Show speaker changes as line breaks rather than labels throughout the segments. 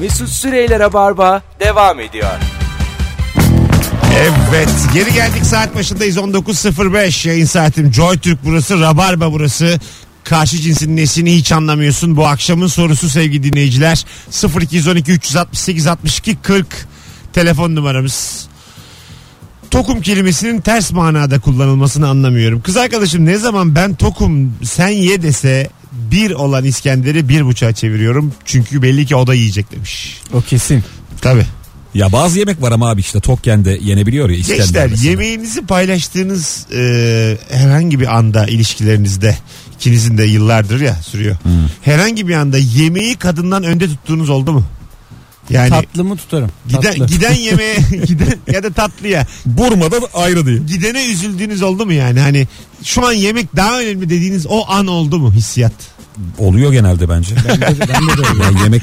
Mesut Süreyler'e barba devam ediyor.
Evet geri geldik saat başındayız 19.05 yayın saatim Joy Türk burası Rabarba burası karşı cinsin nesini hiç anlamıyorsun bu akşamın sorusu sevgili dinleyiciler 0212 368 62 40 telefon numaramız Tokum kelimesinin ters manada kullanılmasını anlamıyorum. Kız arkadaşım ne zaman ben tokum sen ye dese bir olan İskender'i bir buçuğa çeviriyorum. Çünkü belli ki o da yiyecek demiş.
O kesin.
Tabii.
Ya bazı yemek var ama abi işte Tokyen'de yenebiliyor ya İskender
Gençler
mesela.
yemeğinizi paylaştığınız e, herhangi bir anda ilişkilerinizde ikinizin de yıllardır ya sürüyor.
Hmm.
Herhangi bir anda yemeği kadından önde tuttuğunuz oldu mu? Yani
tatlı mı tutarım?
giden
Tatlı.
giden yemeğe giden ya da tatlıya
Burma'da ayrı değil.
gidene üzüldüğünüz oldu mu yani? Hani şu an yemek daha önemli dediğiniz o an oldu mu hissiyat?
Oluyor genelde bence.
Bende de- bende de öyle.
yani yemek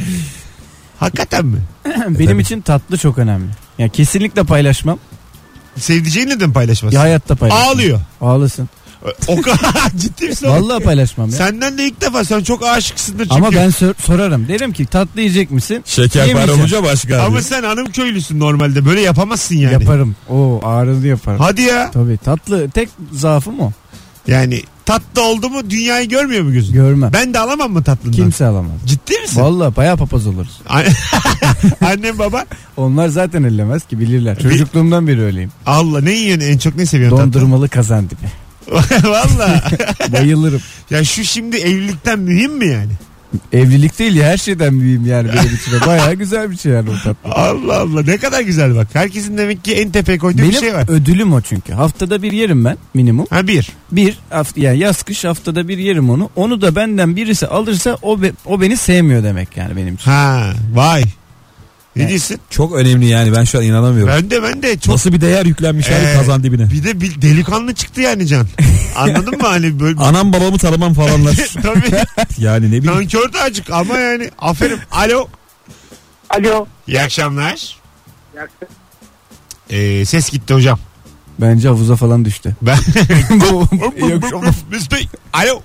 Hakikaten mi?
Benim için tatlı çok önemli. Yani kesinlikle paylaşmam.
Sevdiceğinle de mi paylaşmazsın?
Ya hayatta paylaşmam.
Ağlıyor.
Ağlasın.
O kadar ciddi misin? oğlum?
Vallahi paylaşmam ya.
Senden de ilk defa sen çok aşıksındır çünkü.
Ama ben sor- sorarım. Derim ki tatlı yiyecek misin?
şeker
Yemeyeceğim.
para olunca başka.
Ama
abi.
sen hanım köylüsün normalde. Böyle yapamazsın yani.
Yaparım. Oo ağrılı yaparım.
Hadi ya.
Tabii tatlı tek zaafım o.
Yani tatlı oldu mu dünyayı görmüyor mu gözün?
Görme.
Ben de alamam mı tatlından?
Kimse alamaz.
Ciddi misin?
Vallahi bayağı papaz oluruz.
An- Annem baba.
Onlar zaten ellemez ki bilirler. Çocukluğumdan beri öyleyim.
Allah ne yiyorsun en çok ne seviyorsun
Dondurmalı kazan dibi.
tatlı? Valla.
Bayılırım.
ya şu şimdi evlilikten mühim mi yani?
Evlilik değil ya her şeyden büyüğüm yani benim için. de. Bayağı güzel bir şey yani bu tatlı.
Allah Allah ne kadar güzel bak. Herkesin demek ki en tepeye koyduğu
Benim
bir şey var.
ödülüm o çünkü. Haftada bir yerim ben minimum.
Ha bir.
Bir hafta yani yaz kış haftada bir yerim onu. Onu da benden birisi alırsa o be- o beni sevmiyor demek yani benim için.
Ha vay. Ne
Evet.
diyorsun?
Çok önemli yani ben şu an inanamıyorum.
Ben de ben de çok
Nasıl bir değer yüklenmiş
Ee,
abi kazan dibine.
bir de bir delikanlı çıktı yani Can. Anladın mı hani böyle
Anam babamı tanımam falanlar.
Tabii.
yani ne bileyim.
Nankör de acık ama yani aferin. Alo.
Alo.
İyi akşamlar. Ee, ses gitti hocam.
Bence havuza falan düştü.
Ben
Bu-
Yok, Mesut Bey. Alo.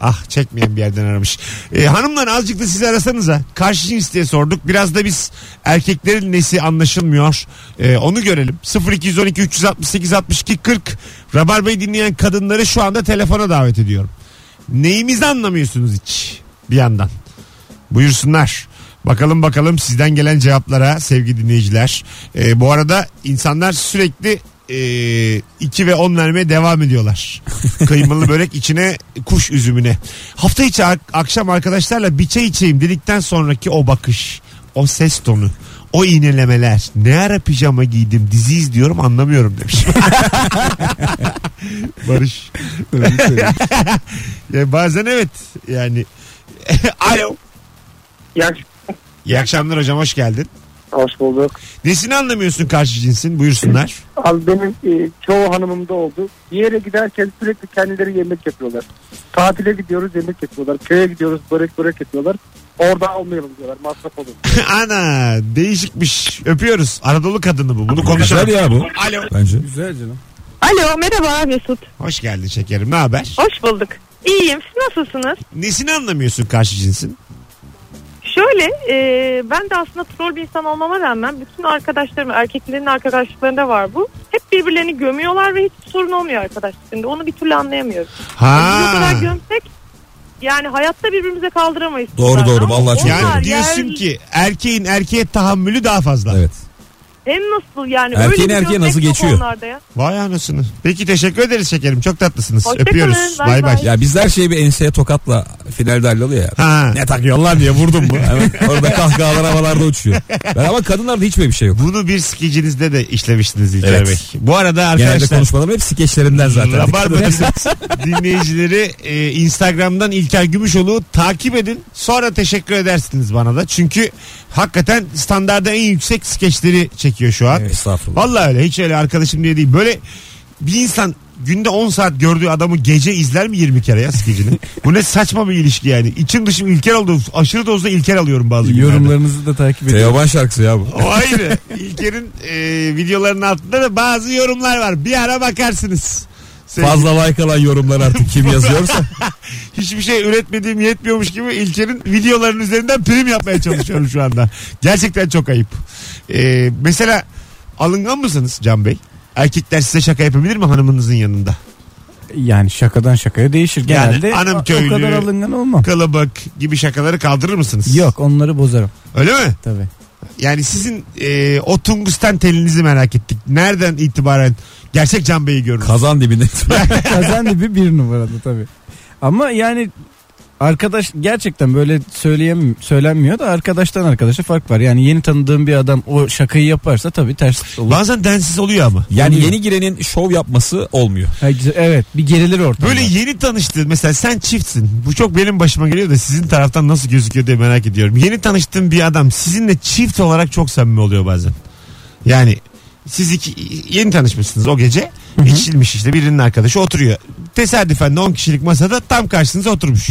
Ah çekmeyen bir yerden aramış. Ee, hanımlar azıcık da siz arasanıza. Karşı cins diye sorduk. Biraz da biz erkeklerin nesi anlaşılmıyor. Ee, onu görelim. 0212 368 62 40 Rabarbayı dinleyen kadınları şu anda telefona davet ediyorum. Neyimizi anlamıyorsunuz hiç bir yandan. Buyursunlar. Bakalım bakalım sizden gelen cevaplara sevgili dinleyiciler. Ee, bu arada insanlar sürekli 2 ve 10 vermeye devam ediyorlar. Kıymalı börek içine kuş üzümüne. Hafta içi ak- akşam arkadaşlarla bir çay içeyim dedikten sonraki o bakış, o ses tonu, o iğnelemeler. Ne ara pijama giydim dizi izliyorum anlamıyorum demiş. Barış. ya bazen evet yani. Alo.
Ya,
İyi akşamlar hocam hoş geldin.
hoş bulduk.
Nesini anlamıyorsun karşı cinsin buyursunlar.
Abi benim e, çoğu hanımımda oldu. Bir yere giderken sürekli kendileri yemek yapıyorlar. Tatile gidiyoruz yemek yapıyorlar. Köye gidiyoruz börek börek yapıyorlar. Orada almayalım diyorlar. Masraf olur.
Ana değişikmiş öpüyoruz. Anadolu kadını bu bunu
Güzel
konuşalım.
ya bu.
Alo.
Bence.
Güzel canım.
Alo merhaba Mesut.
Hoş geldin şekerim ne haber?
Hoş bulduk. İyiyim siz nasılsınız?
Nesini anlamıyorsun karşı cinsin?
Şöyle e, ben de aslında troll bir insan olmama rağmen bütün arkadaşlarım erkeklerin arkadaşlıklarında var bu. Hep birbirlerini gömüyorlar ve hiç sorun olmuyor arkadaşlıklarında. Onu bir türlü anlayamıyorum. Biz o
Ha.
kadar gömsek yani hayatta birbirimize kaldıramayız.
Doğru,
bunlardan
doğru.
ama
Vallahi çok
onlar
doğru.
Yani diyorsun
yer-
ki erkeğin erkeğe tahammülü daha fazla.
Evet.
Hem nasıl yani
Erkeğin
öyle bir
erkeğe
gömlek
nasıl
yok
geçiyor?
onlarda ya.
Vay anasını. Peki teşekkür ederiz şekerim çok tatlısınız.
Hoşça
öpüyoruz.
kalın,
Bay
bay
bay.
bay.
Ya bizde her şey bir enseye tokatla finalde halloluyor ya.
Ha.
Ne takıyorsun lan diye vurdum mu? Hemen orada kahkahalar havalarda uçuyor. Ben ama kadınlarda hiç böyle bir şey yok.
Bunu bir skicinizde de işlemiştiniz İlker
Evet.
Bey. Bu arada
Genelde
arkadaşlar
konuşmalarım hep skeçlerinden zaten.
Rabarba dinleyicileri e, Instagram'dan İlker Gümüşoğlu takip edin. Sonra teşekkür edersiniz bana da. Çünkü hakikaten standarda en yüksek skeçleri çekiyor şu an.
Evet, Estağfurullah.
Vallahi öyle hiç öyle arkadaşım diye değil. Böyle bir insan günde 10 saat gördüğü adamı gece izler mi 20 kere ya skecini? Bu ne saçma bir ilişki yani. İçim dışım İlker oldu. Aşırı dozda İlker alıyorum bazı günlerde.
Yorumlarınızı da takip ediyorum.
Teoman şarkısı ya bu.
O ayrı. İlker'in e, videolarının altında da bazı yorumlar var. Bir ara bakarsınız. Sevgili-
Fazla like alan yorumlar artık kim yazıyorsa.
Hiçbir şey üretmediğim yetmiyormuş gibi İlker'in videoların üzerinden prim yapmaya çalışıyorum şu anda. Gerçekten çok ayıp. Ee, mesela alıngan mısınız Can Bey? Erkekler size şaka yapabilir mi hanımınızın yanında?
Yani şakadan şakaya değişir.
Yani
Genelde
hanım
o-
köylü-
o kadar alıngan olmam.
Kalabalık gibi şakaları kaldırır mısınız?
Yok onları bozarım
Öyle mi?
tabii.
Yani sizin e, o tungsten telinizi merak ettik. Nereden itibaren gerçek Can Bey'i görürüz?
Kazan dibinde.
Kazan dibi bir numarada tabii. Ama yani arkadaş gerçekten böyle söyleyem söylenmiyor da arkadaştan arkadaşa fark var. Yani yeni tanıdığım bir adam o şakayı yaparsa tabii ters olur.
Bazen densiz oluyor ama.
Yani yeni girenin şov yapması olmuyor.
Ha, güzel. Evet bir gerilir ortamda.
Böyle yeni tanıştığın mesela sen çiftsin. Bu çok benim başıma geliyor da sizin taraftan nasıl gözüküyor diye merak ediyorum. Yeni tanıştığın bir adam sizinle çift olarak çok samimi oluyor bazen. Yani siz iki, yeni tanışmışsınız o gece. İçilmiş işte birinin arkadaşı oturuyor. Tesadüfen de 10 kişilik masada tam karşınıza oturmuş.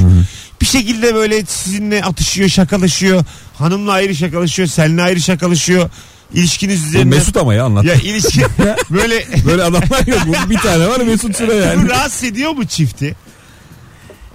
Bir şekilde böyle sizinle atışıyor, şakalaşıyor. Hanımla ayrı şakalaşıyor, seninle ayrı şakalaşıyor. İlişkiniz
Bu
üzerine...
Mesut ama ya anlat.
Ya ilişki böyle
Böyle adamlar yok. Bu Bir tane var Mesut Süre
bu
yani.
rahatsız ediyor mu çifti?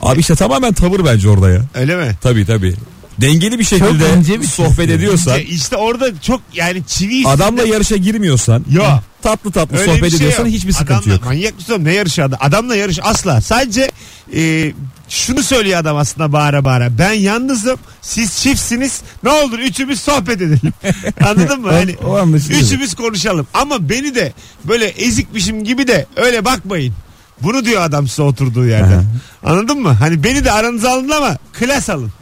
Abi işte tamamen tavır bence orada ya.
Öyle mi?
Tabii tabii. Dengeli bir
Çok
şekilde
ince bir
sohbet ediyorsan.
İşte, işte orada çok yani çivi
Adamla yarışa girmiyorsan.
Ya.
Tatlı tatlı
Öyle
sohbet
bir şey
ediyorsan
yok.
hiçbir sıkıntı
Adamla-
yok.
Manyak mısın oğlum? ne yarışı adam? Adamla yarış asla. Sadece e, şunu söylüyor adam aslında bağıra bağıra. Ben yalnızım siz çiftsiniz ne olur üçümüz sohbet edelim. Anladın mı?
O-
Hani,
o anlaşılıyor.
üçümüz konuşalım ama beni de böyle ezikmişim gibi de öyle bakmayın. Bunu diyor adam size oturduğu yerden. Anladın mı? Hani beni de aranıza alın ama klas alın.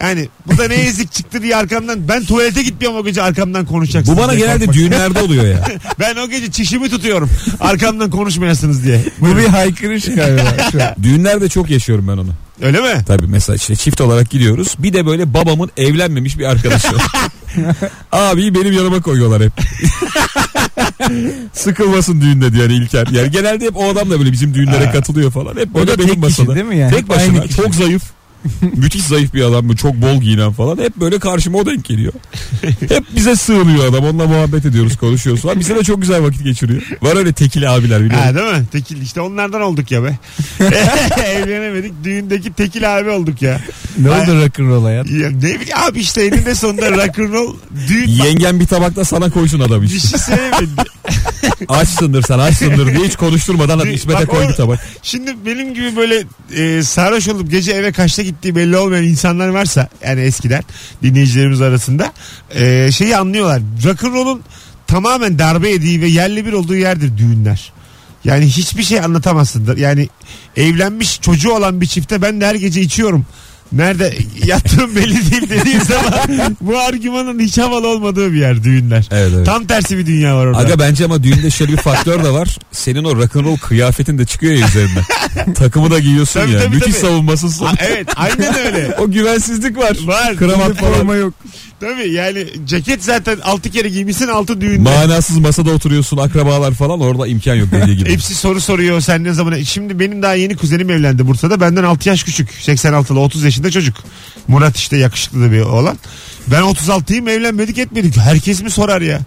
Yani bu da ne ezik çıktı diye arkamdan ben tuvalete gitmiyorum o gece arkamdan konuşacaksın.
Bu bana genelde düğünlerde oluyor ya.
Ben o gece çişimi tutuyorum. Arkamdan konuşmayasınız diye.
Bu bir haykırış galiba. şu an.
Düğünlerde çok yaşıyorum ben onu.
Öyle mi?
Tabii mesela işte çift olarak gidiyoruz. Bir de böyle babamın evlenmemiş bir arkadaşı. var. Abi benim yanıma koyuyorlar hep. Sıkılmasın düğünde diyor yani İlker. Yani genelde hep o adam da böyle bizim düğünlere katılıyor falan. Hep böyle
da
benim
tek kişi
masada.
değil mi yani?
Tek başına.
Aynı kişi.
Çok zayıf. Müthiş zayıf bir adam bu. Çok bol giyinen falan. Hep böyle karşıma o denk geliyor. Hep bize sığınıyor adam. Onunla muhabbet ediyoruz, konuşuyoruz falan. Bize de çok güzel vakit geçiriyor. Var öyle tekili abiler biliyor musun?
Ha, değil mi? Tekil işte onlardan olduk ya be. Evlenemedik. Düğündeki tekil abi olduk ya.
ne oldu rock'n'roll hayat?
ya ne bileyim abi işte eninde sonunda rock'n'roll düğün
Yengen bir tabakta sana koysun adam
bir
işte.
şey sevmedi.
Açsındır sen açsındır diye hiç konuşturmadan hadi
Bir-
İsmet'e
bak
koy
o-
bir tabak.
Şimdi benim gibi böyle e, sarhoş olup gece eve kaçta gittiği belli olmayan insanlar varsa yani eskiden dinleyicilerimiz arasında e, şeyi anlıyorlar. Rock'n'roll'un tamamen darbe yediği ve yerli bir olduğu yerdir düğünler. Yani hiçbir şey anlatamazsın. Yani evlenmiş çocuğu olan bir çifte ben de her gece içiyorum. Nerede yattığım belli değil dediğim zaman bu argümanın hiç havalı olmadığı bir yer düğünler.
Evet evet.
Tam tersi bir dünya var orada.
Aga bence ama düğünde şöyle bir faktör de var. Senin o rock'n'roll kıyafetin de çıkıyor ya üzerinde. Takımı da giyiyorsun
Tabii,
ya.
tabii,
Müthiş
tabii.
savunmasızsın.
Ha, evet aynen öyle.
o güvensizlik var.
Var.
Kravat falan.
yok.
Tabii yani ceket zaten 6 kere giymişsin 6 düğünde.
Manasız masada oturuyorsun akrabalar falan orada imkan yok dediği gibi.
Hepsi soru soruyor sen ne zaman. Şimdi benim daha yeni kuzenim evlendi Bursa'da. Benden 6 yaş küçük. 86'lı 30 yaşında çocuk. Murat işte yakışıklı da bir oğlan. Ben 36'yım evlenmedik etmedik. Herkes mi sorar ya?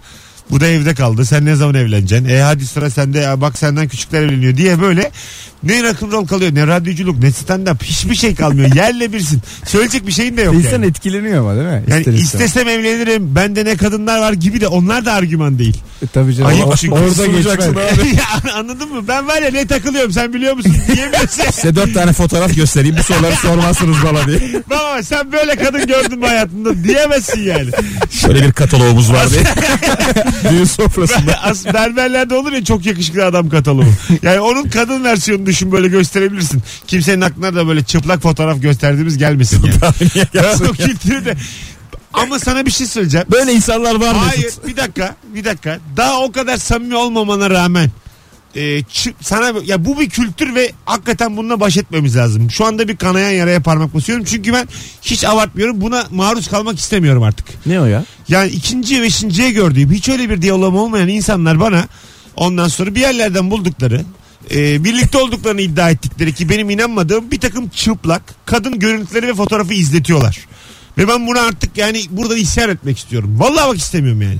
Bu da evde kaldı. Sen ne zaman evleneceksin? E hadi sıra sende. Ya bak senden küçükler evleniyor diye böyle. Ne rock'n'roll kalıyor ne radyoculuk ne stand-up. Hiçbir şey kalmıyor. Yerle birsin. Söyleyecek bir şeyin de yok
İnsan
yani.
etkileniyor ama değil mi?
Yani
İster istemez.
istesem evlenirim. Bende ne kadınlar var gibi de onlar da argüman değil.
E, Tabii canım.
Ayıp
O-
çünkü
Orada
sunacaksın
geçmez.
Ya, anladın mı? Ben var ya ne takılıyorum sen biliyor musun? Diyemiyorsun.
Size dört tane fotoğraf göstereyim bu soruları sormazsınız bana diye.
Baba sen böyle kadın gördün mü hayatında? Diyemezsin yani.
Şöyle bir kataloğumuz var diye. Düğün sofrasında.
As berberlerde olur ya çok yakışıklı adam kataloğu. Yani onun kadın versiyonunu düşün böyle gösterebilirsin. Kimsenin aklına da böyle çıplak fotoğraf gösterdiğimiz gelmesin yani. o kültürü de. Ama sana bir şey söyleyeceğim.
Böyle insanlar var mı?
Hayır bir dakika bir dakika. Daha o kadar samimi olmamana rağmen e, çı- sana ya bu bir kültür ve hakikaten bununla baş etmemiz lazım. Şu anda bir kanayan yaraya parmak basıyorum. Çünkü ben hiç abartmıyorum. Buna maruz kalmak istemiyorum artık.
Ne o ya?
Yani ikinciye beşinciye gördüğüm hiç öyle bir diyalogum olmayan insanlar bana ondan sonra bir yerlerden buldukları e, birlikte olduklarını iddia ettikleri ki benim inanmadığım bir takım çıplak kadın görüntüleri ve fotoğrafı izletiyorlar. Ve ben bunu artık yani burada isyan etmek istiyorum. Vallahi bak istemiyorum yani.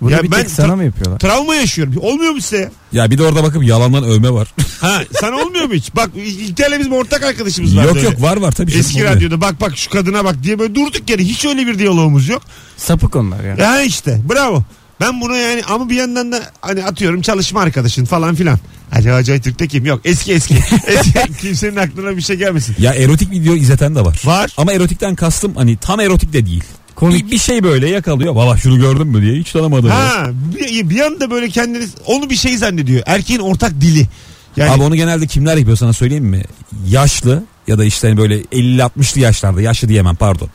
Bunu
Ya
bir
ben
tek sana
tra-
mı yapıyorlar?
Travma yaşıyorum. Olmuyor mu size ya?
Ya bir de orada bakıp yalandan övme var.
Ha, sana olmuyor mu hiç? Bak İlker'le bizim ortak arkadaşımız var.
yok yok var var tabii.
şey
canım,
Eski
oluyor.
radyoda bak bak şu kadına bak diye böyle durduk yere hiç öyle bir diyalogumuz yok.
Sapık onlar ya.
Yani işte bravo. Ben bunu yani ama bir yandan da hani atıyorum çalışma arkadaşın falan filan. Acaba Acay Türk'te kim? Yok eski eski. eski kimsenin aklına bir şey gelmesin.
Ya erotik video izleten de var.
Var.
Ama erotikten kastım hani tam erotik de değil.
Komik.
Bir, bir şey böyle yakalıyor. Baba şunu gördün mü diye hiç tanımadım.
Ha bir, bir yanda böyle kendiniz onu bir şey zannediyor. Erkeğin ortak dili. Yani
Abi onu genelde kimler yapıyor sana söyleyeyim mi? Yaşlı ya da işte hani böyle 50-60'lı yaşlarda yaşlı diyemem pardon.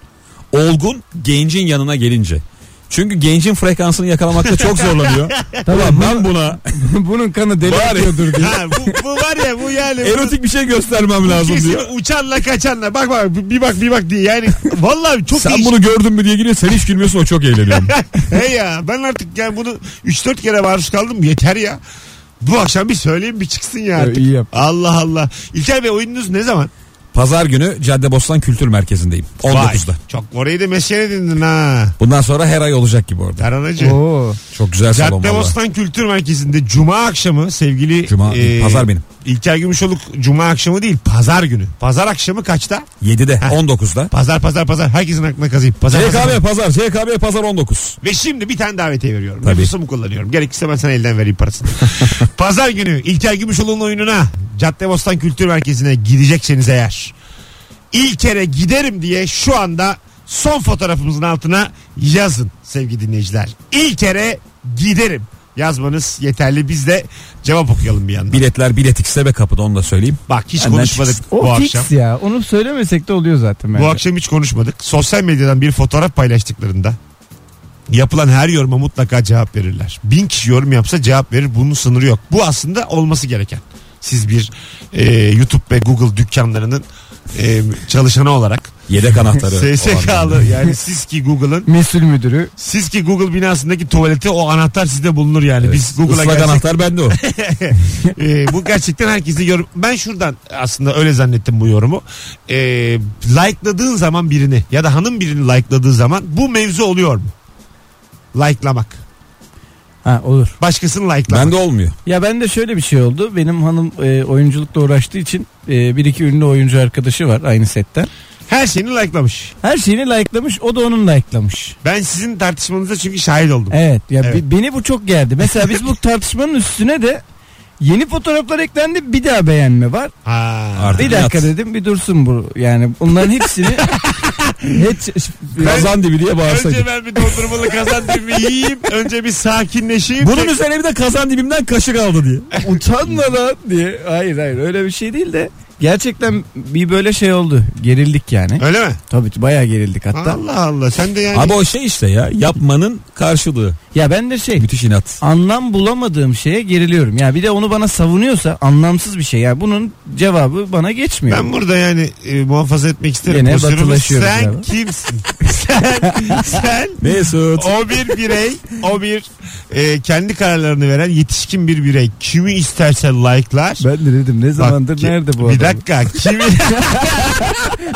Olgun gencin yanına gelince. Çünkü gencin frekansını yakalamakta çok zorlanıyor. Ulan ben buna
Bunun kanı deli
Bari.
akıyordur diye.
ha, bu, bu var ya bu yani. bu-
erotik bir şey göstermem
bu
lazım
kesin
diyor.
uçanla kaçanla bak bak bir bak bir bak diye yani vallahi çok
Sen
değişik.
bunu gördün mü diye geliyor sen hiç gülmüyorsun o çok eğleniyor.
Hey ya ben artık yani bunu 3-4 kere maruz kaldım yeter ya. Bu akşam bir söyleyeyim bir çıksın ya
Evet,
artık.
iyi yap.
Allah Allah. İlker Bey oyununuz ne zaman?
Pazar günü Caddebostan Kültür Merkezi'ndeyim 19'da.
Vay, çok orayı da meşgale edindin ha.
Bundan sonra her ay olacak gibi orada.
Taranacı.
Oo.
Çok güzel salon valla.
Caddebostan Kültür Merkezi'nde Cuma akşamı sevgili e,
Cuma değil, pazar benim.
İlker Gümüşoluk Cuma akşamı değil Pazar günü. Pazar akşamı kaçta?
7'de
Heh.
19'da.
Pazar pazar pazar herkesin aklına kazıyıp pazar, pazar, pazar.
CKB pazar CKB pazar 19.
Ve şimdi bir tane davetiye veriyorum.
Tabii.
Nüfusumu kullanıyorum. Gerekirse ben sana elden vereyim parasını. Pazar günü İlker Gümüşoğlu'nun oyununa Caddebostan Kültür Merkezi'ne gidecekseniz eğer ilk kere giderim diye şu anda son fotoğrafımızın altına yazın sevgili dinleyiciler. İlk kere giderim yazmanız yeterli. Biz de cevap okuyalım bir yandan.
Biletler biletikse ve kapıda onu da söyleyeyim.
Bak hiç
Benden
konuşmadık
çıksın.
O
bu
fix
akşam.
ya. Onu söylemesek de oluyor zaten.
Bu
bence.
akşam hiç konuşmadık. Sosyal medyadan bir fotoğraf paylaştıklarında yapılan her yoruma mutlaka cevap verirler. Bin kişi yorum yapsa cevap verir. Bunun sınırı yok. Bu aslında olması gereken. Siz bir e, YouTube ve Google dükkanlarının e, çalışanı olarak
Yedek anahtarı.
SSK'lı yani siz ki Google'ın
Mesul müdürü.
siz ki Google binasındaki tuvalete o anahtar sizde bulunur yani. Biz Google'a
Islak
gelsek
anahtar bende o.
ee, bu gerçekten herkesi yorum. Ben şuradan aslında öyle zannettim bu yorumu. Ee, like'ladığın zaman birini ya da hanım birini like'ladığı zaman bu mevzu oluyor mu? Like'lamak.
Ha olur.
Başkasını like'lamak.
bende olmuyor.
Ya ben de şöyle bir şey oldu. Benim hanım e, oyunculukla uğraştığı için e, bir iki ünlü oyuncu arkadaşı var aynı setten.
Her şeyini like'lamış.
Her şeyini like'lamış, o da onun like'lamış.
Ben sizin tartışmanıza çünkü şahit oldum.
Evet. Ya
Evet.
bi- beni bu çok geldi. Mesela biz bu tartışmanın üstüne de yeni fotoğraflar eklendi. Bir daha beğenme var.
Ha.
Artık
Bir dakika
yat.
dedim bir dursun bu. Yani bunların hepsini hiç
Kazan dibi diye
Önce
bağırsaydık.
ben bir dondurmalı kazandığımı yiyeyim. Önce bir sakinleşeyim.
Bunun üzerine bir de kazan dibimden kaşık aldı diye.
utanma lan diye. Hayır hayır öyle bir şey değil de gerçekten bir böyle şey oldu. Gerildik yani.
Öyle mi?
Tabii bayağı gerildik hatta.
Allah Allah. Sen de yani.
Abi o şey işte ya yapmanın karşılığı.
Ya ben de şey
Müthiş inat.
anlam bulamadığım şeye geriliyorum. Ya bir de onu bana savunuyorsa anlamsız bir şey. Ya bunun cevabı bana geçmiyor.
Ben burada yani e, muhafaza etmek isterim.
Gene
Kusurumuz
batılaşıyoruz
sen
galiba.
kimsin? sen, sen
Mesut.
O bir birey, o bir e, kendi kararlarını veren yetişkin bir birey. Kimi isterse like'lar.
Ben de dedim ne
Bak,
zamandır
ki-
nerede bu
Bir
adam?
dakika. Kimi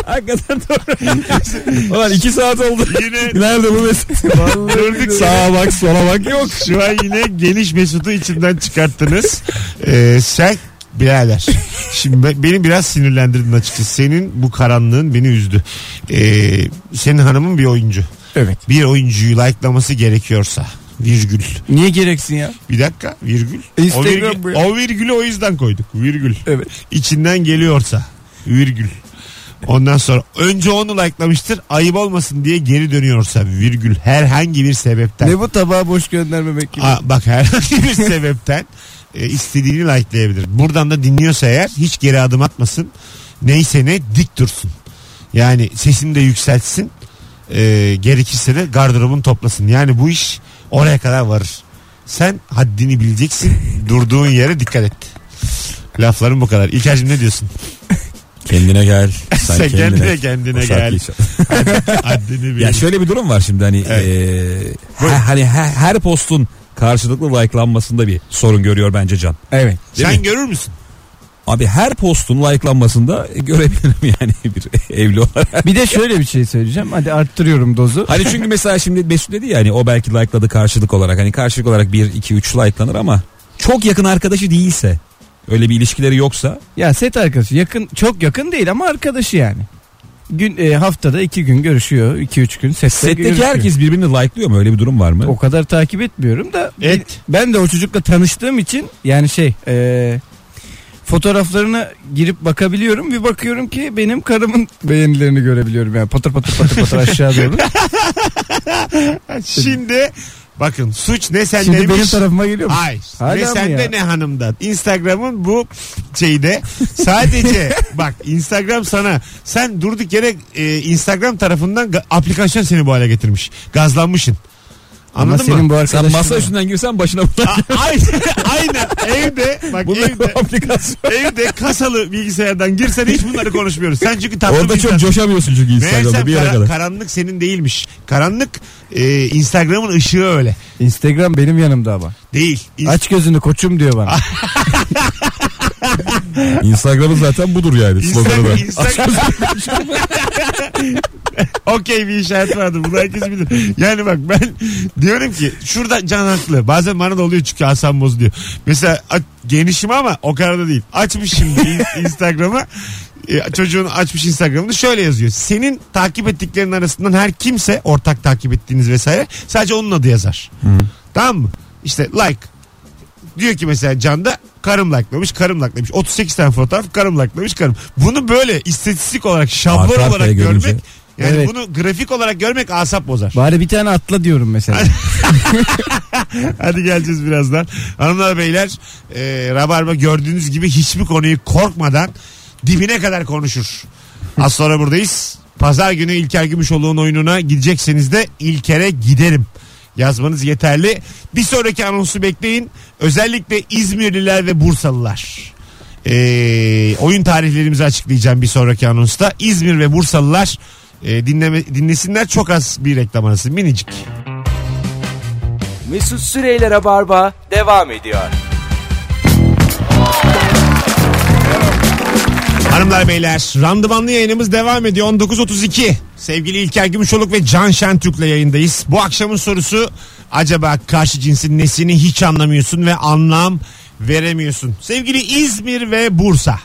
Hakikaten doğru. Ulan iki saat oldu.
yine
Nerede bu Mesut?
döndük
Sağa bak sola bak yok.
Şu an yine geniş Mesut'u içimden çıkarttınız. E, sen birader. Şimdi be- beni biraz sinirlendirdin açıkçası. Senin bu karanlığın beni üzdü. E, senin hanımın bir oyuncu.
Evet.
Bir oyuncuyu like'laması gerekiyorsa virgül.
Niye gereksin ya?
Bir dakika virgül. O,
Instagram
virgül,
bu.
o virgülü o yüzden koyduk. Virgül.
Evet.
İçinden geliyorsa virgül. Ondan sonra önce onu likelamıştır ayıp olmasın diye geri dönüyorsa virgül herhangi bir sebepten.
Ne bu tabağı boş göndermemek gibi.
Aa, bak herhangi bir sebepten e, istediğini likelayabilir. Buradan da dinliyorsa eğer hiç geri adım atmasın. Neyse ne dik dursun. Yani sesini de yükseltsin. E, gerekirse de gardırobunu toplasın. Yani bu iş oraya kadar varır. Sen haddini bileceksin. Durduğun yere dikkat et. Laflarım bu kadar. İlker'cim ne diyorsun?
Kendine gel. Sen,
Sen
kendine,
kendine kendine
O
gel.
şarkıyı çal.
Haddini bil.
Ya şöyle bir durum var şimdi hani
Evet.
eee, ha- hani her, her postun karşılıklı like'lanmasında bir sorun görüyor bence Can.
Evet.
Sen görür müsün?
Abi her postun like'lanmasında görebilirim yani bir evli olarak.
Bir de şöyle bir şey söyleyeceğim. Hadi arttırıyorum dozu.
Hani çünkü mesela şimdi Mesut dedi ya hani o belki like'ladı karşılık olarak. Hani karşılık olarak 1 2 3 like'lanır ama çok yakın arkadaşı değilse öyle bir ilişkileri yoksa
Ya set arkadaşı yakın çok yakın değil ama arkadaşı yani. Gün e, haftada iki gün görüşüyor. iki üç gün sette,
setteki
görüşüyor.
herkes birbirini like'lıyor mu? Öyle bir durum var mı?
O kadar takip etmiyorum da.
Et.
Ben de o çocukla tanıştığım için yani şey e, fotoğraflarına girip bakabiliyorum. Bir bakıyorum ki benim karımın beğenilerini görebiliyorum. Yani patır patır patır patır aşağı doğru.
Şimdi bakın suç ne
Şimdi
sendeymiş.
benim tarafıma geliyor mu?
Hayır.
Hala
ne
mı
sende
ya?
ne hanımda. Instagram'ın bu şeyde sadece bak Instagram sana sen durduk yere e, Instagram tarafından ga- aplikasyon seni bu hale getirmiş. Gazlanmışsın.
Ama
Anladın
senin
mı?
bu
Sen
arkadaşın
masa üstünden girsen başına bunlar.
A- aynen, aynen evde bak
Bunlar
evde
bir aplikasyon.
evde kasalı bilgisayardan girsen hiç bunları konuşmuyoruz. Sen çünkü tatlı
Orada
bir
çok
insansın.
coşamıyorsun çünkü Instagram'da
Meğersem
bir yere
kara-
kadar.
karanlık senin değilmiş. Karanlık e, Instagram'ın ışığı öyle.
Instagram benim yanımda ama.
Değil. İnst-
Aç gözünü koçum diyor bana.
Instagram'ın zaten budur yani sloganı da.
Instagram, Instagram- Okey bir işaret vardı. Bunu herkes bilir. Yani bak ben diyorum ki şurada can haklı. Bazen bana da oluyor çünkü Hasan Boz diyor. Mesela a- genişim ama o kadar da değil. Açmış şimdi in- Instagram'ı. E, çocuğun açmış Instagram'ını şöyle yazıyor. Senin takip ettiklerin arasından her kimse ortak takip ettiğiniz vesaire sadece onun adı yazar. Tamam mı? İşte like. Diyor ki mesela Can'da karım like'lamış, karım like'lamış. 38 tane fotoğraf karım like'lamış, karım. Bunu böyle istatistik olarak, şablon
Arka arkaya
olarak
görünce.
görmek yani
Evet.
bunu grafik olarak görmek asap bozar.
Bari bir tane atla diyorum mesela.
Hadi geleceğiz birazdan. Hanımlar beyler e, Rabarba gördüğünüz gibi hiçbir konuyu korkmadan dibine kadar konuşur. Az sonra buradayız. Pazar günü İlker Gümüşoğlu'nun oyununa gidecekseniz de İlker'e giderim. Yazmanız yeterli. Bir sonraki anonsu bekleyin. Özellikle İzmirliler ve Bursalılar. E, oyun tarihlerimizi açıklayacağım bir sonraki anonsta. İzmir ve Bursalılar e, dinleme, dinlesinler. Çok az bir reklam arası. Minicik.
Mesut Süreyler'e barba devam ediyor.
Hanımlar beyler randımanlı yayınımız devam ediyor 19.32 sevgili İlker Gümüşoluk ve Can Şentürk'le yayındayız. Bu akşamın sorusu acaba karşı cinsin nesini hiç anlamıyorsun ve anlam veremiyorsun. Sevgili İzmir ve Bursa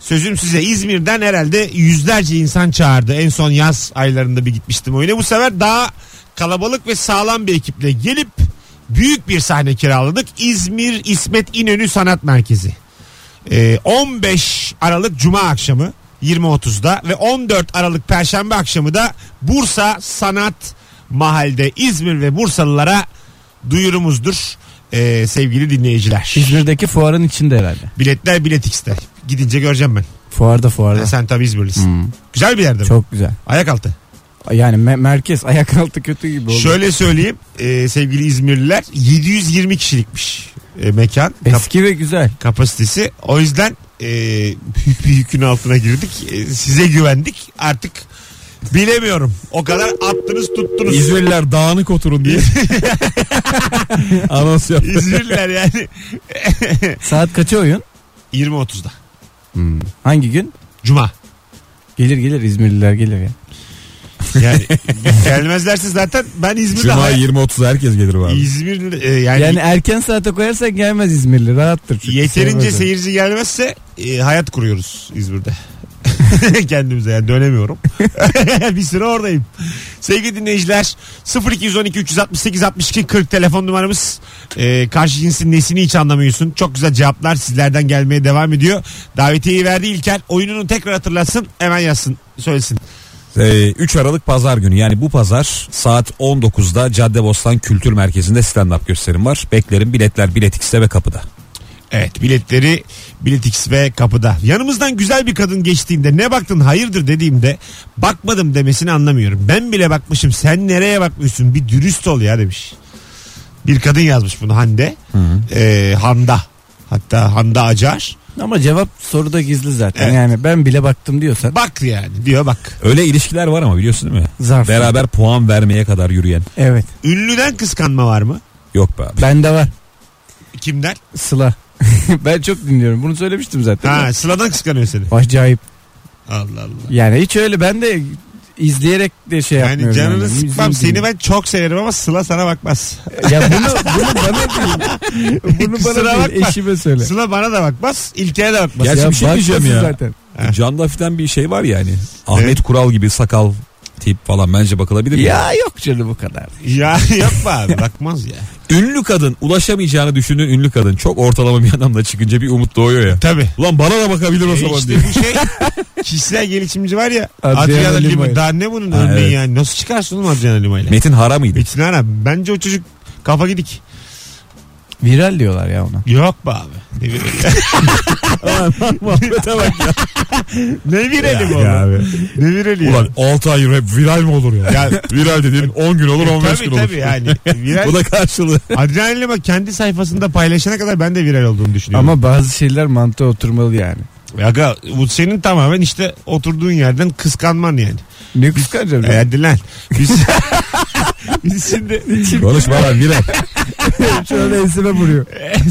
sözüm size İzmir'den herhalde yüzlerce insan çağırdı. En son yaz aylarında bir gitmiştim oyuna bu sefer daha kalabalık ve sağlam bir ekiple gelip büyük bir sahne kiraladık. İzmir İsmet İnönü Sanat Merkezi. Ee, 15 Aralık Cuma akşamı 20.30'da ve 14 Aralık Perşembe akşamı da Bursa Sanat Mahal'de İzmir ve Bursalılara duyurumuzdur ee, sevgili dinleyiciler.
İzmir'deki fuarın içinde herhalde.
Biletler Bilet X'te. Gidince göreceğim ben.
Fuarda fuarda.
Ha, Sen tabii İzmirlisin.
Hmm.
Güzel bir yerde mi?
Çok güzel.
Ayak altı.
Yani me- merkez ayak altı kötü gibi oldu.
Şöyle söyleyeyim ee, sevgili İzmirliler 720 kişilikmiş e, mekan. Kap-
Eski ve güzel.
kapasitesi. O yüzden e, büyük bir yükün altına girdik. E, size güvendik. Artık bilemiyorum. O kadar attınız tuttunuz.
İzmirliler dağınık oturun diye. Anons yap.
İzmirliler yani
Saat kaça oyun?
20.30'da.
Hangi gün?
Cuma.
Gelir gelir İzmirliler gelir ya.
Yani gelmezlerse zaten ben İzmir'de
Cuma
hay-
20.30 herkes gelir abi.
İzmir e, yani,
Yani erken saate koyarsak gelmez İzmirli rahattır. çünkü.
yeterince
Sevmez onu.
seyirci gelmezse e, hayat kuruyoruz İzmir'de. kendimize yani dönemiyorum. bir süre oradayım. Sevgili dinleyiciler 0212 368 62 40 telefon numaramız. Ee, karşı cinsin nesini hiç anlamıyorsun. Çok güzel cevaplar sizlerden gelmeye devam ediyor. Davetiyeyi verdi İlker. Oyununu tekrar hatırlatsın hemen yazsın söylesin.
Ee, 3 Aralık Pazar günü yani bu pazar saat 19'da Caddebostan Kültür Merkezi'nde stand-up gösterim var. Beklerim biletler Bilet X'te ve kapıda.
Evet biletleri Biletix ve kapıda. Yanımızdan güzel bir kadın geçtiğinde ne baktın hayırdır dediğimde bakmadım demesini anlamıyorum. Ben bile bakmışım sen nereye bakmışsın bir dürüst ol ya demiş. Bir kadın yazmış bunu Hande. Ee, Handa. Hatta Handa Acar.
Ama cevap soruda gizli zaten.
Evet.
Yani ben bile baktım diyorsan
Bak yani diyor bak.
Öyle ilişkiler var ama biliyorsun değil mi?
zarf.
Beraber puan vermeye kadar yürüyen.
Evet.
Ünlüden kıskanma var mı?
Yok be abi.
Bende var.
Kimden?
Sıla. ben çok dinliyorum. Bunu söylemiştim zaten.
Ha Sıla'dan kıskanıyor seni.
Acayip.
Allah Allah.
Yani hiç öyle ben de izleyerek de şey
Yani
yapmıyorum.
canını
İzleyeyim
sıkmam. Seni
diyeyim.
ben çok severim ama Sıla sana bakmaz.
Ya bunu, bunu bana değil. Bunu
Kusura
bana değil.
bakma.
Eşime söyle.
Sıla bana da bakmaz. İlker'e de bakmaz.
Gerçi
Ya
bir şey diyeceğim
bakmasın
ya.
Zaten.
Can Dafi'den bir şey var yani. Ahmet Kural gibi sakal tip falan bence bakılabilir mi?
Ya yok canım bu kadar.
Ya yapma abi bakmaz ya.
Ünlü kadın ulaşamayacağını düşündüğün ünlü kadın çok ortalama bir adamla çıkınca bir umut doğuyor ya.
Tabii.
Ulan bana da bakabilir o
E
zaman
işte
diye.
bu şey kişisel gelişimci var ya.
Adriana
Adriana Lima.
Lima'yı.
Daha ne bunun
Ha,
örneği
evet.
yani. Nasıl çıkarsın oğlum Adriana Lima ile?
Metin Hara mıydı?
Metin Ara. Bence o çocuk kafa gidik.
Viral diyorlar ya ona.
Yok be abi. Ne vireli?
Muhabbete bak ya.
ne vireli bu
Ya
oğlum?
abi.
Ne vireli ya?
Ulan 6 ay rap viral mi olur ya?
Ya-
viral dediğin 10 gün olur 15
Tabii
gün olur.
tabii yani. Viral.
Bu da karşılığı.
Adriana Lima kendi sayfasında paylaşana kadar ben de viral olduğunu düşünüyorum.
Ama bazı şeyler mantığa oturmalı yani.
Ama Aga, bu senin tamamen işte oturduğun yerden kıskanman yani.
Ne kıskanacağım?
E, hadi lan. Biz, biz şimdi
Konuşma lan viral.
Şöyle enseme vuruyor.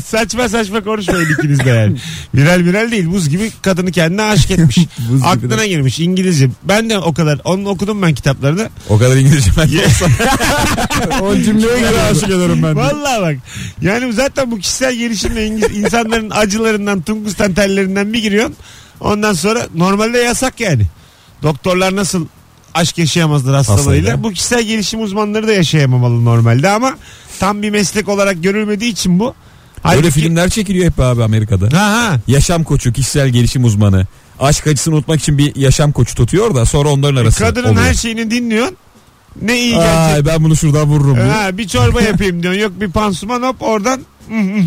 saçma saçma konuşmayın ikiniz de yani. Viral viral değil buz gibi kadını kendine aşık etmiş.
Buz gibi
Aklına girmiş İngilizce. Ben de o kadar onu okudum ben kitaplarını.
O kadar İngilizce ben de olsam
O cümleye göre aşık ederim ben.
Vallahi bak. Yani zaten bu kişisel gelişimle İngiliz, insanların acılarından, tungustan tellerinden bir giriyorsun. Ondan sonra normalde yasak yani. Doktorlar nasıl aşk yaşayamazlar hastalığıyla.
Hastalığıyla.
Bu kişisel gelişim uzmanları da yaşayamamalı normalde ama tam bir meslek olarak görülmediği için bu.
Böyle
Halbuki-
filmler çekiliyor hep abi Amerika'da.
Ha ha.
Yaşam koçu, kişisel gelişim uzmanı. Aşk acısını unutmak için bir yaşam koçu tutuyor da sonra onların arası
E, Kadının
oluyor.
her şeyini dinliyorsun. Ne iyi gelecek.
Ay ben bunu şuradan vururum. diyor.
Ha, bir çorba yapayım diyorsun. Yok bir pansuman hop oradan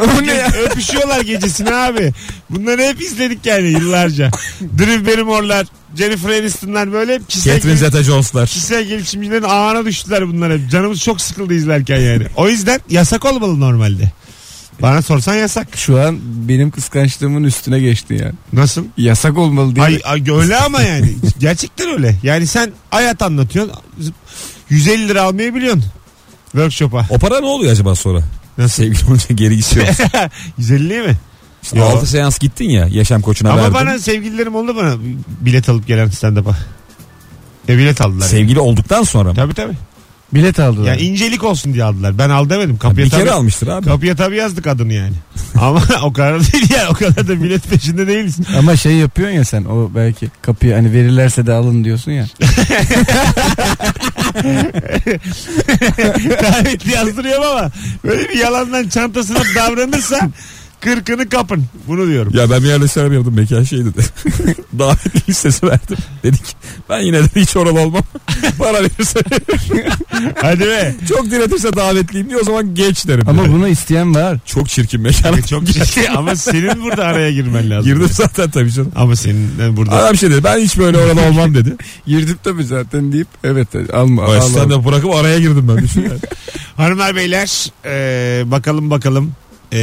O ne ya?
Öpüşüyorlar gecesini abi. Bunları hep izledik yani yıllarca. Drew Barrymore'lar, Jennifer Aniston'lar böyle hep kişisel,
Catherine
gel-
Zeta Jones'lar.
kişisel gelişimcilerin ağına düştüler bunlar hep. Canımız çok sıkıldı izlerken yani. O yüzden yasak olmalı normalde. Bana sorsan yasak.
Şu an benim kıskançlığımın üstüne geçti yani.
Nasıl?
Yasak olmalı değil
Ay,
mi?
ay, öyle ama yani. Gerçekten öyle. Yani sen hayat anlatıyorsun. 150 lira almayı biliyorsun. Workshop'a.
O para ne oluyor acaba sonra?
Nasıl?
Sevgili olunca geri gidiyor.
150 mi?
İşte
Yo.
6 seans gittin ya yaşam koçuna
Ama
verdin.
bana sevgililerim oldu bana bilet alıp gelen stand-up'a. E bilet aldılar.
Sevgili olduktan sonra mı?
Tabii tabii.
Bilet aldılar.
Yani incelik olsun diye aldılar. Ben al demedim. Kapıya
bir
tabii,
kere almıştır abi.
kapıya tabii yazdık adını yani. Ama o kadar değil ya. O kadar da bilet peşinde değiliz.
Ama şey yapıyorsun ya sen o belki kapıyı hani verirlerse de alın diyorsun ya.
Davetli yazdırıyorum ama böyle bir yalandan çantasına davranırsa kırkını kapın. Bunu diyorum.
Ya ben bir yerde selam yaptım mekan şey dedi. Davet listesi verdim. Dedik ben yine de hiç oralı olmam. Para verirse
Hadi be.
çok diretirse davetliyim diye o zaman geç derim.
Ama
dedi.
bunu isteyen var.
çok çirkin mekan.
Çok ciddi ama senin burada araya girmen lazım.
Girdim zaten tabii canım.
Ama senin burada.
Adam şey dedi ben hiç böyle oralı olmam dedi.
Girdim tabii zaten deyip evet alma.
Baştan da bırakıp araya girdim ben. Düşün yani.
Hanımlar beyler e, bakalım bakalım e,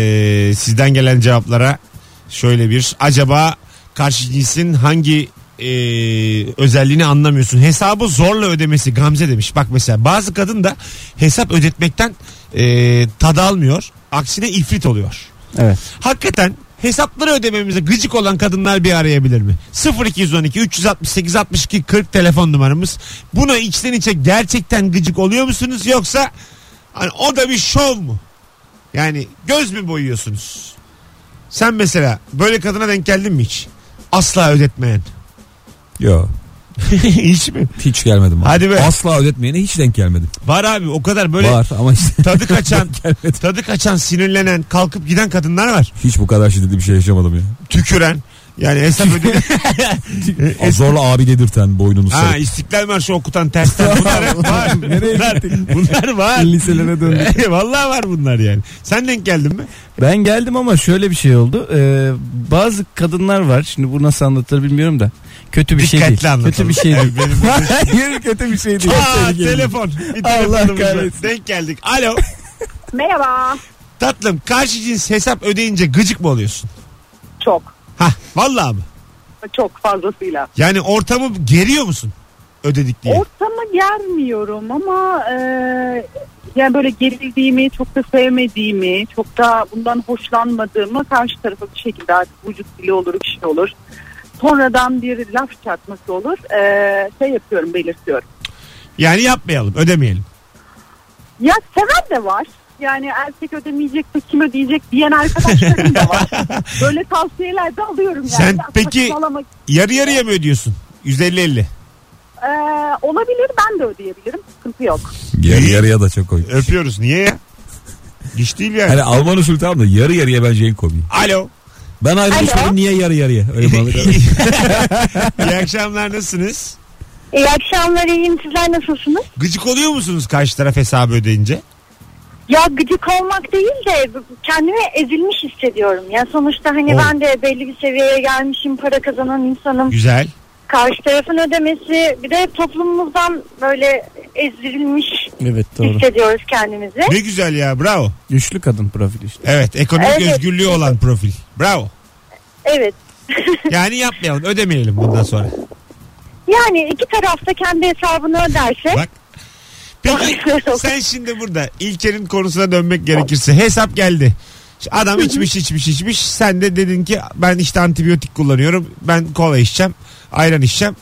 sizden gelen cevaplara şöyle bir acaba karşı cinsin hangi e, özelliğini anlamıyorsun hesabı zorla ödemesi Gamze demiş bak mesela bazı kadın da hesap ödetmekten e, tad almıyor aksine ifrit oluyor
Evet.
hakikaten hesapları ödememize gıcık olan kadınlar bir arayabilir mi? 0212 368 62 40 telefon numaramız. Buna içten içe gerçekten gıcık oluyor musunuz yoksa hani o da bir şov mu? Yani göz mü boyuyorsunuz? Sen mesela böyle kadına denk geldin mi hiç? Asla ödetmeyen.
Yo
hiç mi?
hiç gelmedim. Abi.
Hadi be.
Asla ödetmeyene hiç denk gelmedim.
Var abi o kadar böyle
Var ama işte
tadı kaçan,
gelmedi.
tadı kaçan, sinirlenen, kalkıp giden kadınlar var.
Hiç bu kadar şiddetli bir şey yaşamadım ya.
Tüküren. Yani hesap ödedi.
Zorla abi dedirten boynunu
E, Ha
sarıp.
İstiklal Marşı okutan tersten bunlar hep var.
Nereye
bunlar, bunlar var.
Liselere döndük.
Vallahi var bunlar yani. Sen denk geldin mi?
Ben geldim ama şöyle bir şey oldu. Ee, bazı kadınlar var. Şimdi bu nasıl anlatılır bilmiyorum da. Kötü bir şey
Dikkatli
değil.
anlatalım.
Kötü bir şey
Yani
değil.
benim
Hayır kötü bir şey değil.
Aa,
Sevgili.
telefon. Bir
Allah
telefonumuz var.
kahretsin.
Denk geldik. Alo.
Merhaba.
Tatlım karşı cins hesap ödeyince gıcık mı oluyorsun?
Çok.
Hah vallahi mı?
Çok fazlasıyla.
Yani ortamı geriyor musun? Ödedik diye.
Ortamı germiyorum ama e, yani böyle gerildiğimi, çok da sevmediğimi, çok da bundan hoşlanmadığımı karşı tarafa bir şekilde artık vücut dili olur, bir şey olur. Sonradan bir laf çatması olur. E, şey yapıyorum, belirtiyorum.
Yani yapmayalım ödemeyelim.
Ya seven de var. Yani erkek ödemeyecek de kim ödeyecek diyen arkadaşlarım da var. Böyle tavsiyeler de alıyorum yani.
Sen
Ben
peki-
saçmalamak-
Yarı yarıya mı ödüyorsun? 150-50.
Ee, olabilir ben de ödeyebilirim. Sıkıntı yok.
Yarı yarıya da çok komik.
Öpüyoruz niye ya? Hiç değil yani.
Hani Alman usulü tamam da yarı yarıya bence en komik.
Alo.
Ben ayrılmışlarım niye yarı yarıya? Öyle bağlı.
İyi akşamlar nasılsınız?
İyi akşamlar iyiyim sizler nasılsınız?
Gıcık oluyor musunuz karşı taraf hesabı ödeyince?
Ya gıcık olmak değil de kendimi ezilmiş hissediyorum. Ya sonuçta hani
Oo.
ben de belli bir seviyeye gelmişim para kazanan insanım.
Güzel.
Karşı tarafın ödemesi bir de toplumumuzdan böyle ezilmiş
Evet doğru.
hissediyoruz kendimizi.
Ne güzel ya bravo.
Güçlü kadın profili işte.
Evet ekonomik
Evet.
özgürlüğü olan profil. Bravo.
Evet.
Yani yapmayalım ödemeyelim bundan sonra.
Yani iki tarafta kendi hesabını öderse
Bak. Peki sen şimdi burada İlker'in konusuna dönmek gerekirse hesap geldi. Adam içmiş içmiş içmiş. Sen de dedin ki ben işte antibiyotik kullanıyorum. Ben kola içeceğim. Ayran içeceğim.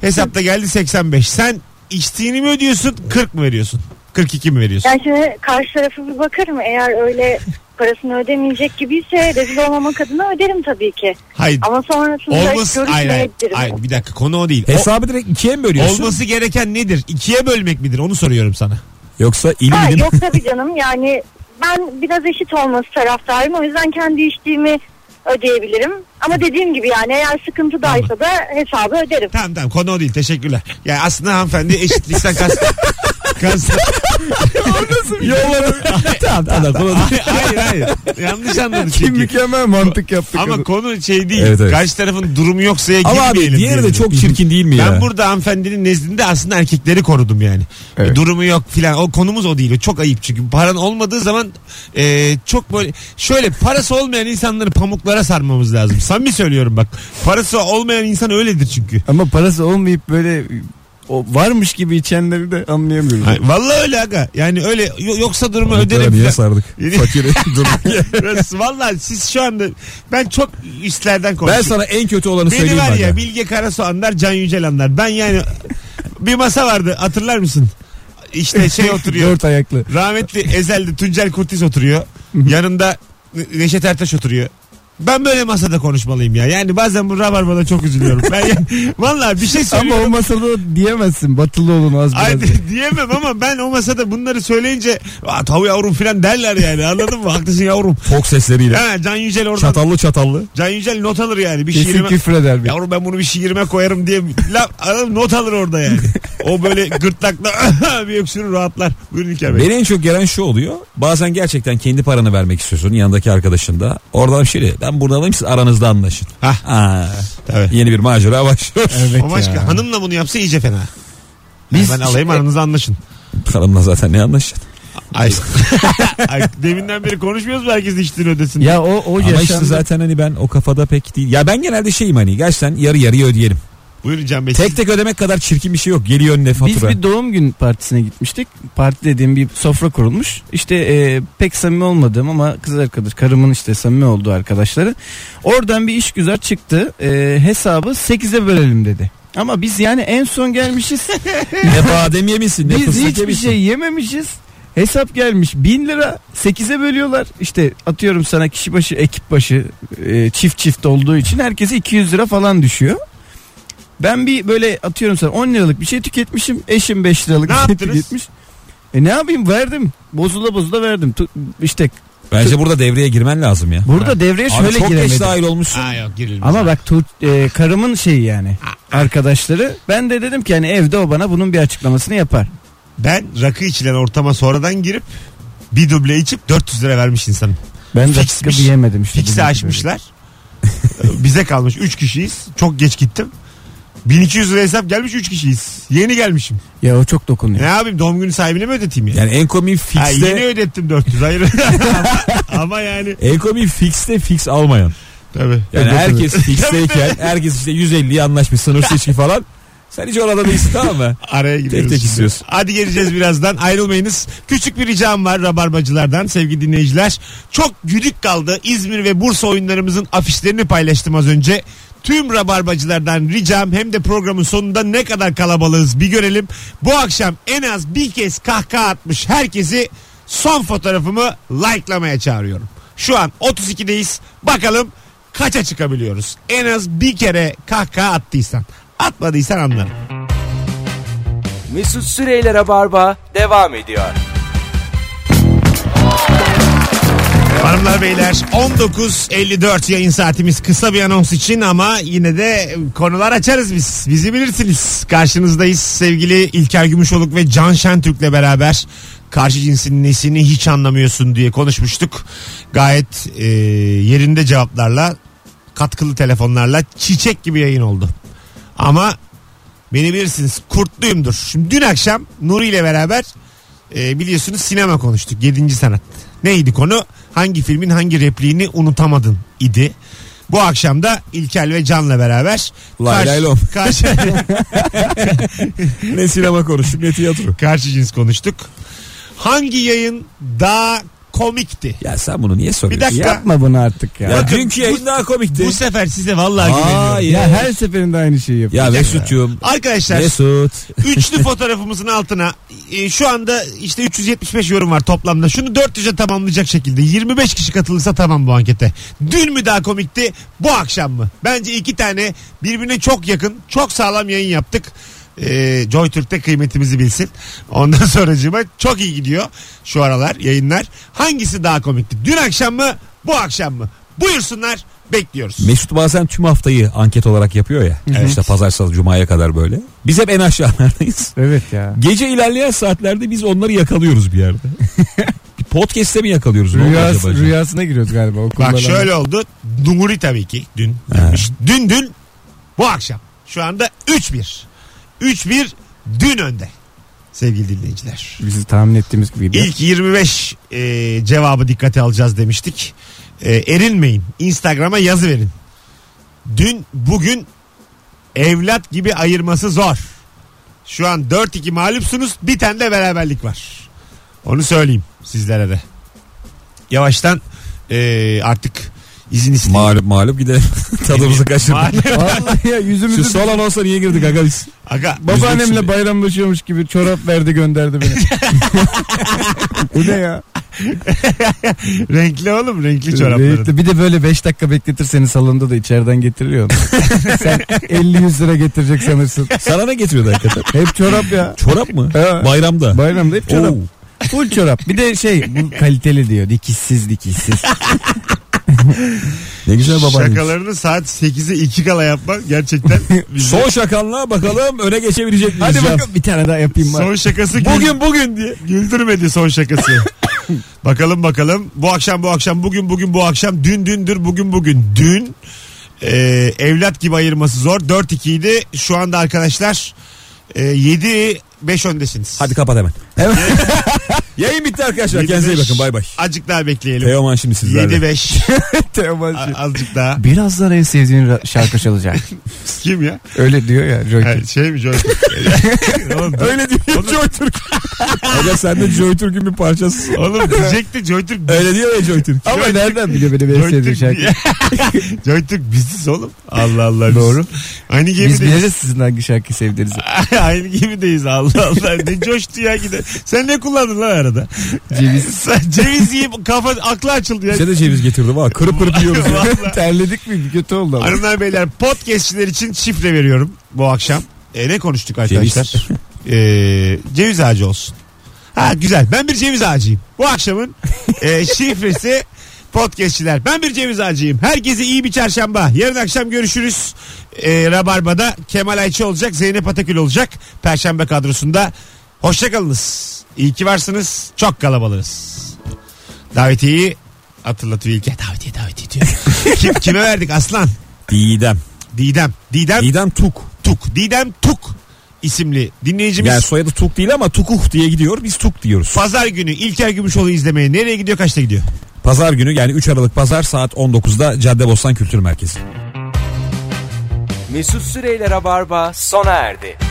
Hesapta geldi 85. Sen içtiğini mi ödüyorsun 40 mı veriyorsun? 42 mi veriyorsun?
ben şimdi karşı tarafı bir bakarım eğer öyle parasını ödemeyecek gibiyse rezil olmamak adına öderim tabii ki.
Hayır.
Ama sonrasında
Olmaz. Hayır, hayır,
görüşmeyebilirim.
hayır. Bir dakika konu o değil. O-
Hesabı direkt ikiye mi bölüyorsun?
olması gereken nedir? İkiye bölmek midir? Onu soruyorum sana.
Yoksa
Ha,
ilim ilim.
yok tabii canım yani ben biraz eşit olması taraftarıyım. O yüzden kendi içtiğimi ödeyebilirim. Ama dediğim gibi yani eğer sıkıntı daysa da hesabı öderim.
Tamam tamam konu o değil teşekkürler. Yani aslında hanımefendi eşitlikten kast... kast... şey?
Yolladım. tamam tamam. tamam.
hayır hayır. Yanlış anladın
Kim
çünkü.
mükemmel mantık yaptık.
Ama
kadın.
konu şey değil.
Evet, evet.
Karşı tarafın durumu yoksa ya
Ama
girmeyelim
abi diğeri de
diyelim.
çok çirkin değil mi ya?
Ben burada hanımefendinin nezdinde aslında erkekleri korudum yani.
Evet.
Durumu yok filan. O konumuz o değil. O çok ayıp çünkü. Paran olmadığı zaman e, çok böyle şöyle parası olmayan insanları pamuklara sarmamız lazım. Samimi söylüyorum bak. Parası olmayan insan öyledir çünkü.
Ama parası olmayıp böyle o varmış gibi içenleri de anlayamıyoruz.
Ay, Vallahi öyle aga. Yani öyle yo- yoksa durumu öderim.
Niye
filan.
sardık?
Yeni-
Fakir. Dur.
Burası- Vallahi siz şu anda ben çok üstlerden
ben
konuşuyorum.
sana en kötü olanı
Beni
söyleyeyim.
var ya
aga.
Bilge Karasoğanlar, Can Yücel anlar. Ben yani bir masa vardı hatırlar mısın? İşte şey oturuyor.
Dört ayaklı.
rahmetli Ezel'de Tuncel Kurtiz oturuyor. Yanında Ne- Neşet Ertaş oturuyor. Ben böyle masada konuşmalıyım ya. Yani bazen bu rabarbada çok üzülüyorum. Ben yani, vallahi bir şey
Ama
söylüyorum.
o masada diyemezsin batılı olun az biraz.
Ay, di- diyemem ama ben o masada bunları söyleyince "Aa, tav yavrum falan derler yani anladın mı? Haklısın yavrum.
Tok sesleriyle.
Ha, Can Yücel oradan.
Çatallı çatallı.
Can Yücel not alır yani. Bir
Kesin
şiirime,
küfür eder bir.
Yavrum ben bunu bir şiirime koyarım diye la, adam not alır orada yani. O böyle gırtlakla bir öksürür rahatlar. Buyurun İlker Bey.
Beni en çok gelen şu oluyor. Bazen gerçekten kendi paranı vermek istiyorsun yanındaki arkadaşında. Oradan bir şey diyor. Ben burada alayım siz aranızda anlaşın.
Hah.
Aa,
Tabii.
yeni bir macera başlıyor.
Evet
Ama başka
ya.
hanımla bunu yapsa iyice fena.
Biz- e-
ben alayım aranızı anlaşın.
Hanımla zaten ne anlaşacaksın?
Ay. Ay, deminden beri konuşmuyoruz mu herkes içtiğini ödesin?
Ya o o
Ama
yaşandı.
işte zaten hani ben o kafada pek değil. Ya ben genelde şeyim hani gerçekten yarı yarıya ödeyelim.
Buyurun Can Bey.
Tek tek ödemek kadar çirkin bir şey yok. Geliyor önüne
Biz
fatura.
bir doğum gün partisine gitmiştik. Parti dediğim bir sofra kurulmuş. İşte e, pek samimi olmadığım ama kız arkadaş, karımın işte samimi olduğu arkadaşları. Oradan bir iş güzel çıktı. E, hesabı 8'e bölelim dedi. Ama biz yani en son gelmişiz.
Ne badem yemişsin ne
biz
fıstık
hiçbir
yemişsin.
şey yememişiz. Hesap gelmiş 1000 lira 8'e bölüyorlar. İşte atıyorum sana kişi başı ekip başı e, çift çift olduğu için herkese 200 lira falan düşüyor. Ben bir böyle atıyorum sana 10 liralık bir şey tüketmişim. Eşim 5 liralık
Ne
bir şey
yaptınız?
tüketmiş. E ne yapayım verdim. Bozula bozula verdim. Tu- işte
Bence burada devreye girmen lazım ya.
burada devreye
Abi
şöyle
çok
giremedim.
geç dahil olmuşsun.
Aa, yok girilmez.
Ama bak tu- e, karımın şeyi yani arkadaşları. Ben de dedim ki hani evde o bana bunun bir açıklamasını yapar.
Ben rakı içilen ortama sonradan girip bir duble içip 400 lira vermiş insanım.
Ben de
Fiksmiş.
sıkı yemedim işte.
Fiksi
Dediğim gibi.
açmışlar. Bize kalmış 3 kişiyiz. Çok geç gittim. 1200 lira hesap gelmiş 3 kişiyiz. Yeni gelmişim.
Ya o çok dokunuyor.
Ne yapayım doğum günü sahibine mi ödeteyim ya?
Yani en komik
ha, yeni
fikste
ödettim 400 hayır. Ama yani
en komik fikste fix almayan.
tabii.
Yani
Evet,
herkes fiksteyken herkes işte 150'ye anlaşmış sınırsız içki falan. Sen hiç orada değilsin tamam mı?
Araya gidiyoruz.
tek
şimdi.
istiyorsun.
Hadi geleceğiz birazdan. Ayrılmayınız. Küçük bir ricam var rabarbacılardan sevgili dinleyiciler. Çok güdük kaldı. İzmir ve Bursa oyunlarımızın afişlerini paylaştım az önce. Tüm rabarbacılardan ricam hem de programın sonunda ne kadar kalabalığız bir görelim. Bu akşam en az bir kez kahkaha atmış herkesi son fotoğrafımı likelamaya çağırıyorum. Şu an 32'deyiz. Bakalım kaça çıkabiliyoruz? En az bir kere kahkaha attıysan. Atmadıysan anlarım.
Mesut Süreyler'e barba devam ediyor.
Hanımlar beyler 19.54 yayın saatimiz kısa bir anons için ama yine de konular açarız biz. Bizi bilirsiniz. Karşınızdayız sevgili İlker Gümüşoluk ve Can Şentürk'le beraber karşı cinsin nesini hiç anlamıyorsun diye konuşmuştuk. Gayet e, yerinde cevaplarla katkılı telefonlarla çiçek gibi yayın oldu. Ama beni bilirsiniz kurtluyumdur. Şimdi dün akşam Nuri ile beraber e, biliyorsunuz sinema konuştuk. 7. sanat. Neydi konu? Hangi filmin hangi repliğini unutamadın idi. Bu akşam da İlkel ve Can'la beraber
Lay lay lom.
karşı,
ne sinema konuştuk ne tiyatro.
karşı cins konuştuk. Hangi yayın daha komikti?
Ya sen bunu niye
Bir
soruyorsun?
dakika.
Yapma bunu artık ya.
Ya,
Ya,
dünkü yayın daha komikti.
Bu sefer size vallahi güveniyorum.
Hayır.
her seferinde aynı şeyi yapıyor.
Ya Mesut'cum.
Arkadaşlar
Mesut.
üçlü fotoğrafımızın altına e, şu anda işte 375 yorum var toplamda. Şunu 400'e tamamlayacak şekilde 25 kişi katılırsa tamam bu ankete. Dün mü daha komikti bu akşam mı? Bence iki tane birbirine çok yakın çok sağlam yayın yaptık. E, Joy Türk'te kıymetimizi bilsin. Ondan sonracığıma çok iyi gidiyor şu aralar yayınlar. Hangisi daha komikti? Dün akşam mı bu akşam mı? Buyursunlar bekliyoruz.
Mesut bazen tüm haftayı anket olarak yapıyor ya. İşte pazar salı cumaya kadar böyle. Biz hep en aşağılardayız.
Evet ya.
Gece ilerleyen saatlerde biz onları yakalıyoruz bir yerde. Bir Podcast'te mi yakalıyoruz? Ne oldu
Rüyas,
acaba?
rüyasına giriyoruz galiba okulda.
Bak şöyle oldu. Nuri tabii ki dün. yapmış. Dün dün bu akşam. Şu anda 3-1. 3-1 dün önde. Sevgili dinleyiciler.
Bizi tahmin ettiğimiz gibiydi.
İlk 25 e, cevabı dikkate alacağız demiştik. E, erinmeyin. Instagram'a yazı verin. Dün bugün evlat gibi ayırması zor. Şu an 4-2 mağlupsunuz. Bir tane de beraberlik var. Onu söyleyeyim sizlere de. Yavaştan e, artık izin isteyin.
Mağlup mağlup gidelim. Tadımızı kaçırdık.
Maalesef.
Vallahi ya
Şu
yüzümüzü
sol anonsa niye girdik aga biz?
Aga
babaannemle
Üzüksün.
bayramlaşıyormuş gibi çorap verdi gönderdi beni. Bu ne ya?
renkli oğlum renkli çorapların.
Bir de böyle 5 dakika bekletir seni salonda da içeriden getiriliyor. Sen 50-100 lira getirecek sanırsın.
Sana ne getiriyordu hakikaten?
Hep çorap ya.
Çorap mı?
Ha.
Bayramda.
Bayramda hep çorap.
Oo.
Full çorap. Bir de şey bu kaliteli diyor. Dikişsiz dikişsiz.
Ne güzel babaannem.
Şakalarını saat 8'e 2 kala yapmak gerçekten bizi-
Son şakanla bakalım öne geçebilecek miyiz?
Hadi
Can?
bakalım bir tane daha yapayım
son
bari.
şakası gül-
Bugün bugün diye.
güldürmedi son şakası. bakalım bakalım bu akşam bu akşam bugün bugün bu akşam dün dündür bugün bugün dün e, evlat gibi ayırması zor 4-2 idi şu anda arkadaşlar e, 7 5 öndesiniz.
Hadi kapat hemen.
Evet.
Yayın bitti arkadaşlar. Kendinize iyi bakın. Bay bay.
Azıcık daha bekleyelim.
Teoman şimdi sizlerle.
7-5
Teoman'cığım.
azıcık daha.
Birazdan en sevdiğin ra- şarkı çalacak.
Kim ya?
Öyle diyor ya Joy
Ha, şey mi Joy Türk? Oğlum,
Öyle diyor Joy Türk. Aga sen de Joy Türk'ün bir parçasısın.
Oğlum diyecekti Joy Türk
Öyle diyor ya Joy Türk.
Ama nereden biliyor benim en sevdiğim şarkı?
Joytürk biziz oğlum. Allah Allah. biz-
Doğru.
Aynı
Biz
gemideyiz.
biliriz sizin hangi şarkıyı sevdiğinizi.
Aynı gemideyiz Allah Allah. Ne coştu ya gide. Sen ne kullandın lan arada?
Ceviz.
Sen ceviz yiyip kafa aklı açıldı ya.
Size de ceviz getirdim ha. Kırıp kırıp yiyoruz. ya.
Vallahi.
Terledik mi? Kötü oldu ama.
Hanımlar beyler podcastçiler için şifre veriyorum bu akşam. E, ne konuştuk arkadaşlar? E, ceviz ağacı olsun. Ha güzel. Ben bir ceviz ağacıyım. Bu akşamın e, şifresi podcastçiler. Ben bir ceviz ağacıyım. Herkese iyi bir çarşamba. Yarın akşam görüşürüz. E, Rabarba'da Kemal Ayçi olacak. Zeynep Atakül olacak. Perşembe kadrosunda. Hoşçakalınız. İyi ki varsınız. Çok kalabalığız. Davetiyeyi hatırlatıyor İlker. Davetiye davetiye diyor. Kim, kime verdik aslan?
Didem.
Didem. Didem
Didem Tuk.
Tuk. Didem Tuk isimli dinleyicimiz.
Yani soyadı Tuk değil ama Tukuh diye gidiyor. Biz Tuk diyoruz.
Pazar günü İlker Gümüşoğlu izlemeye nereye gidiyor kaçta gidiyor?
Pazar günü yani 3 Aralık Pazar saat 19'da Caddebostan Kültür Merkezi.
Mesut Süreyler'e barba sona erdi.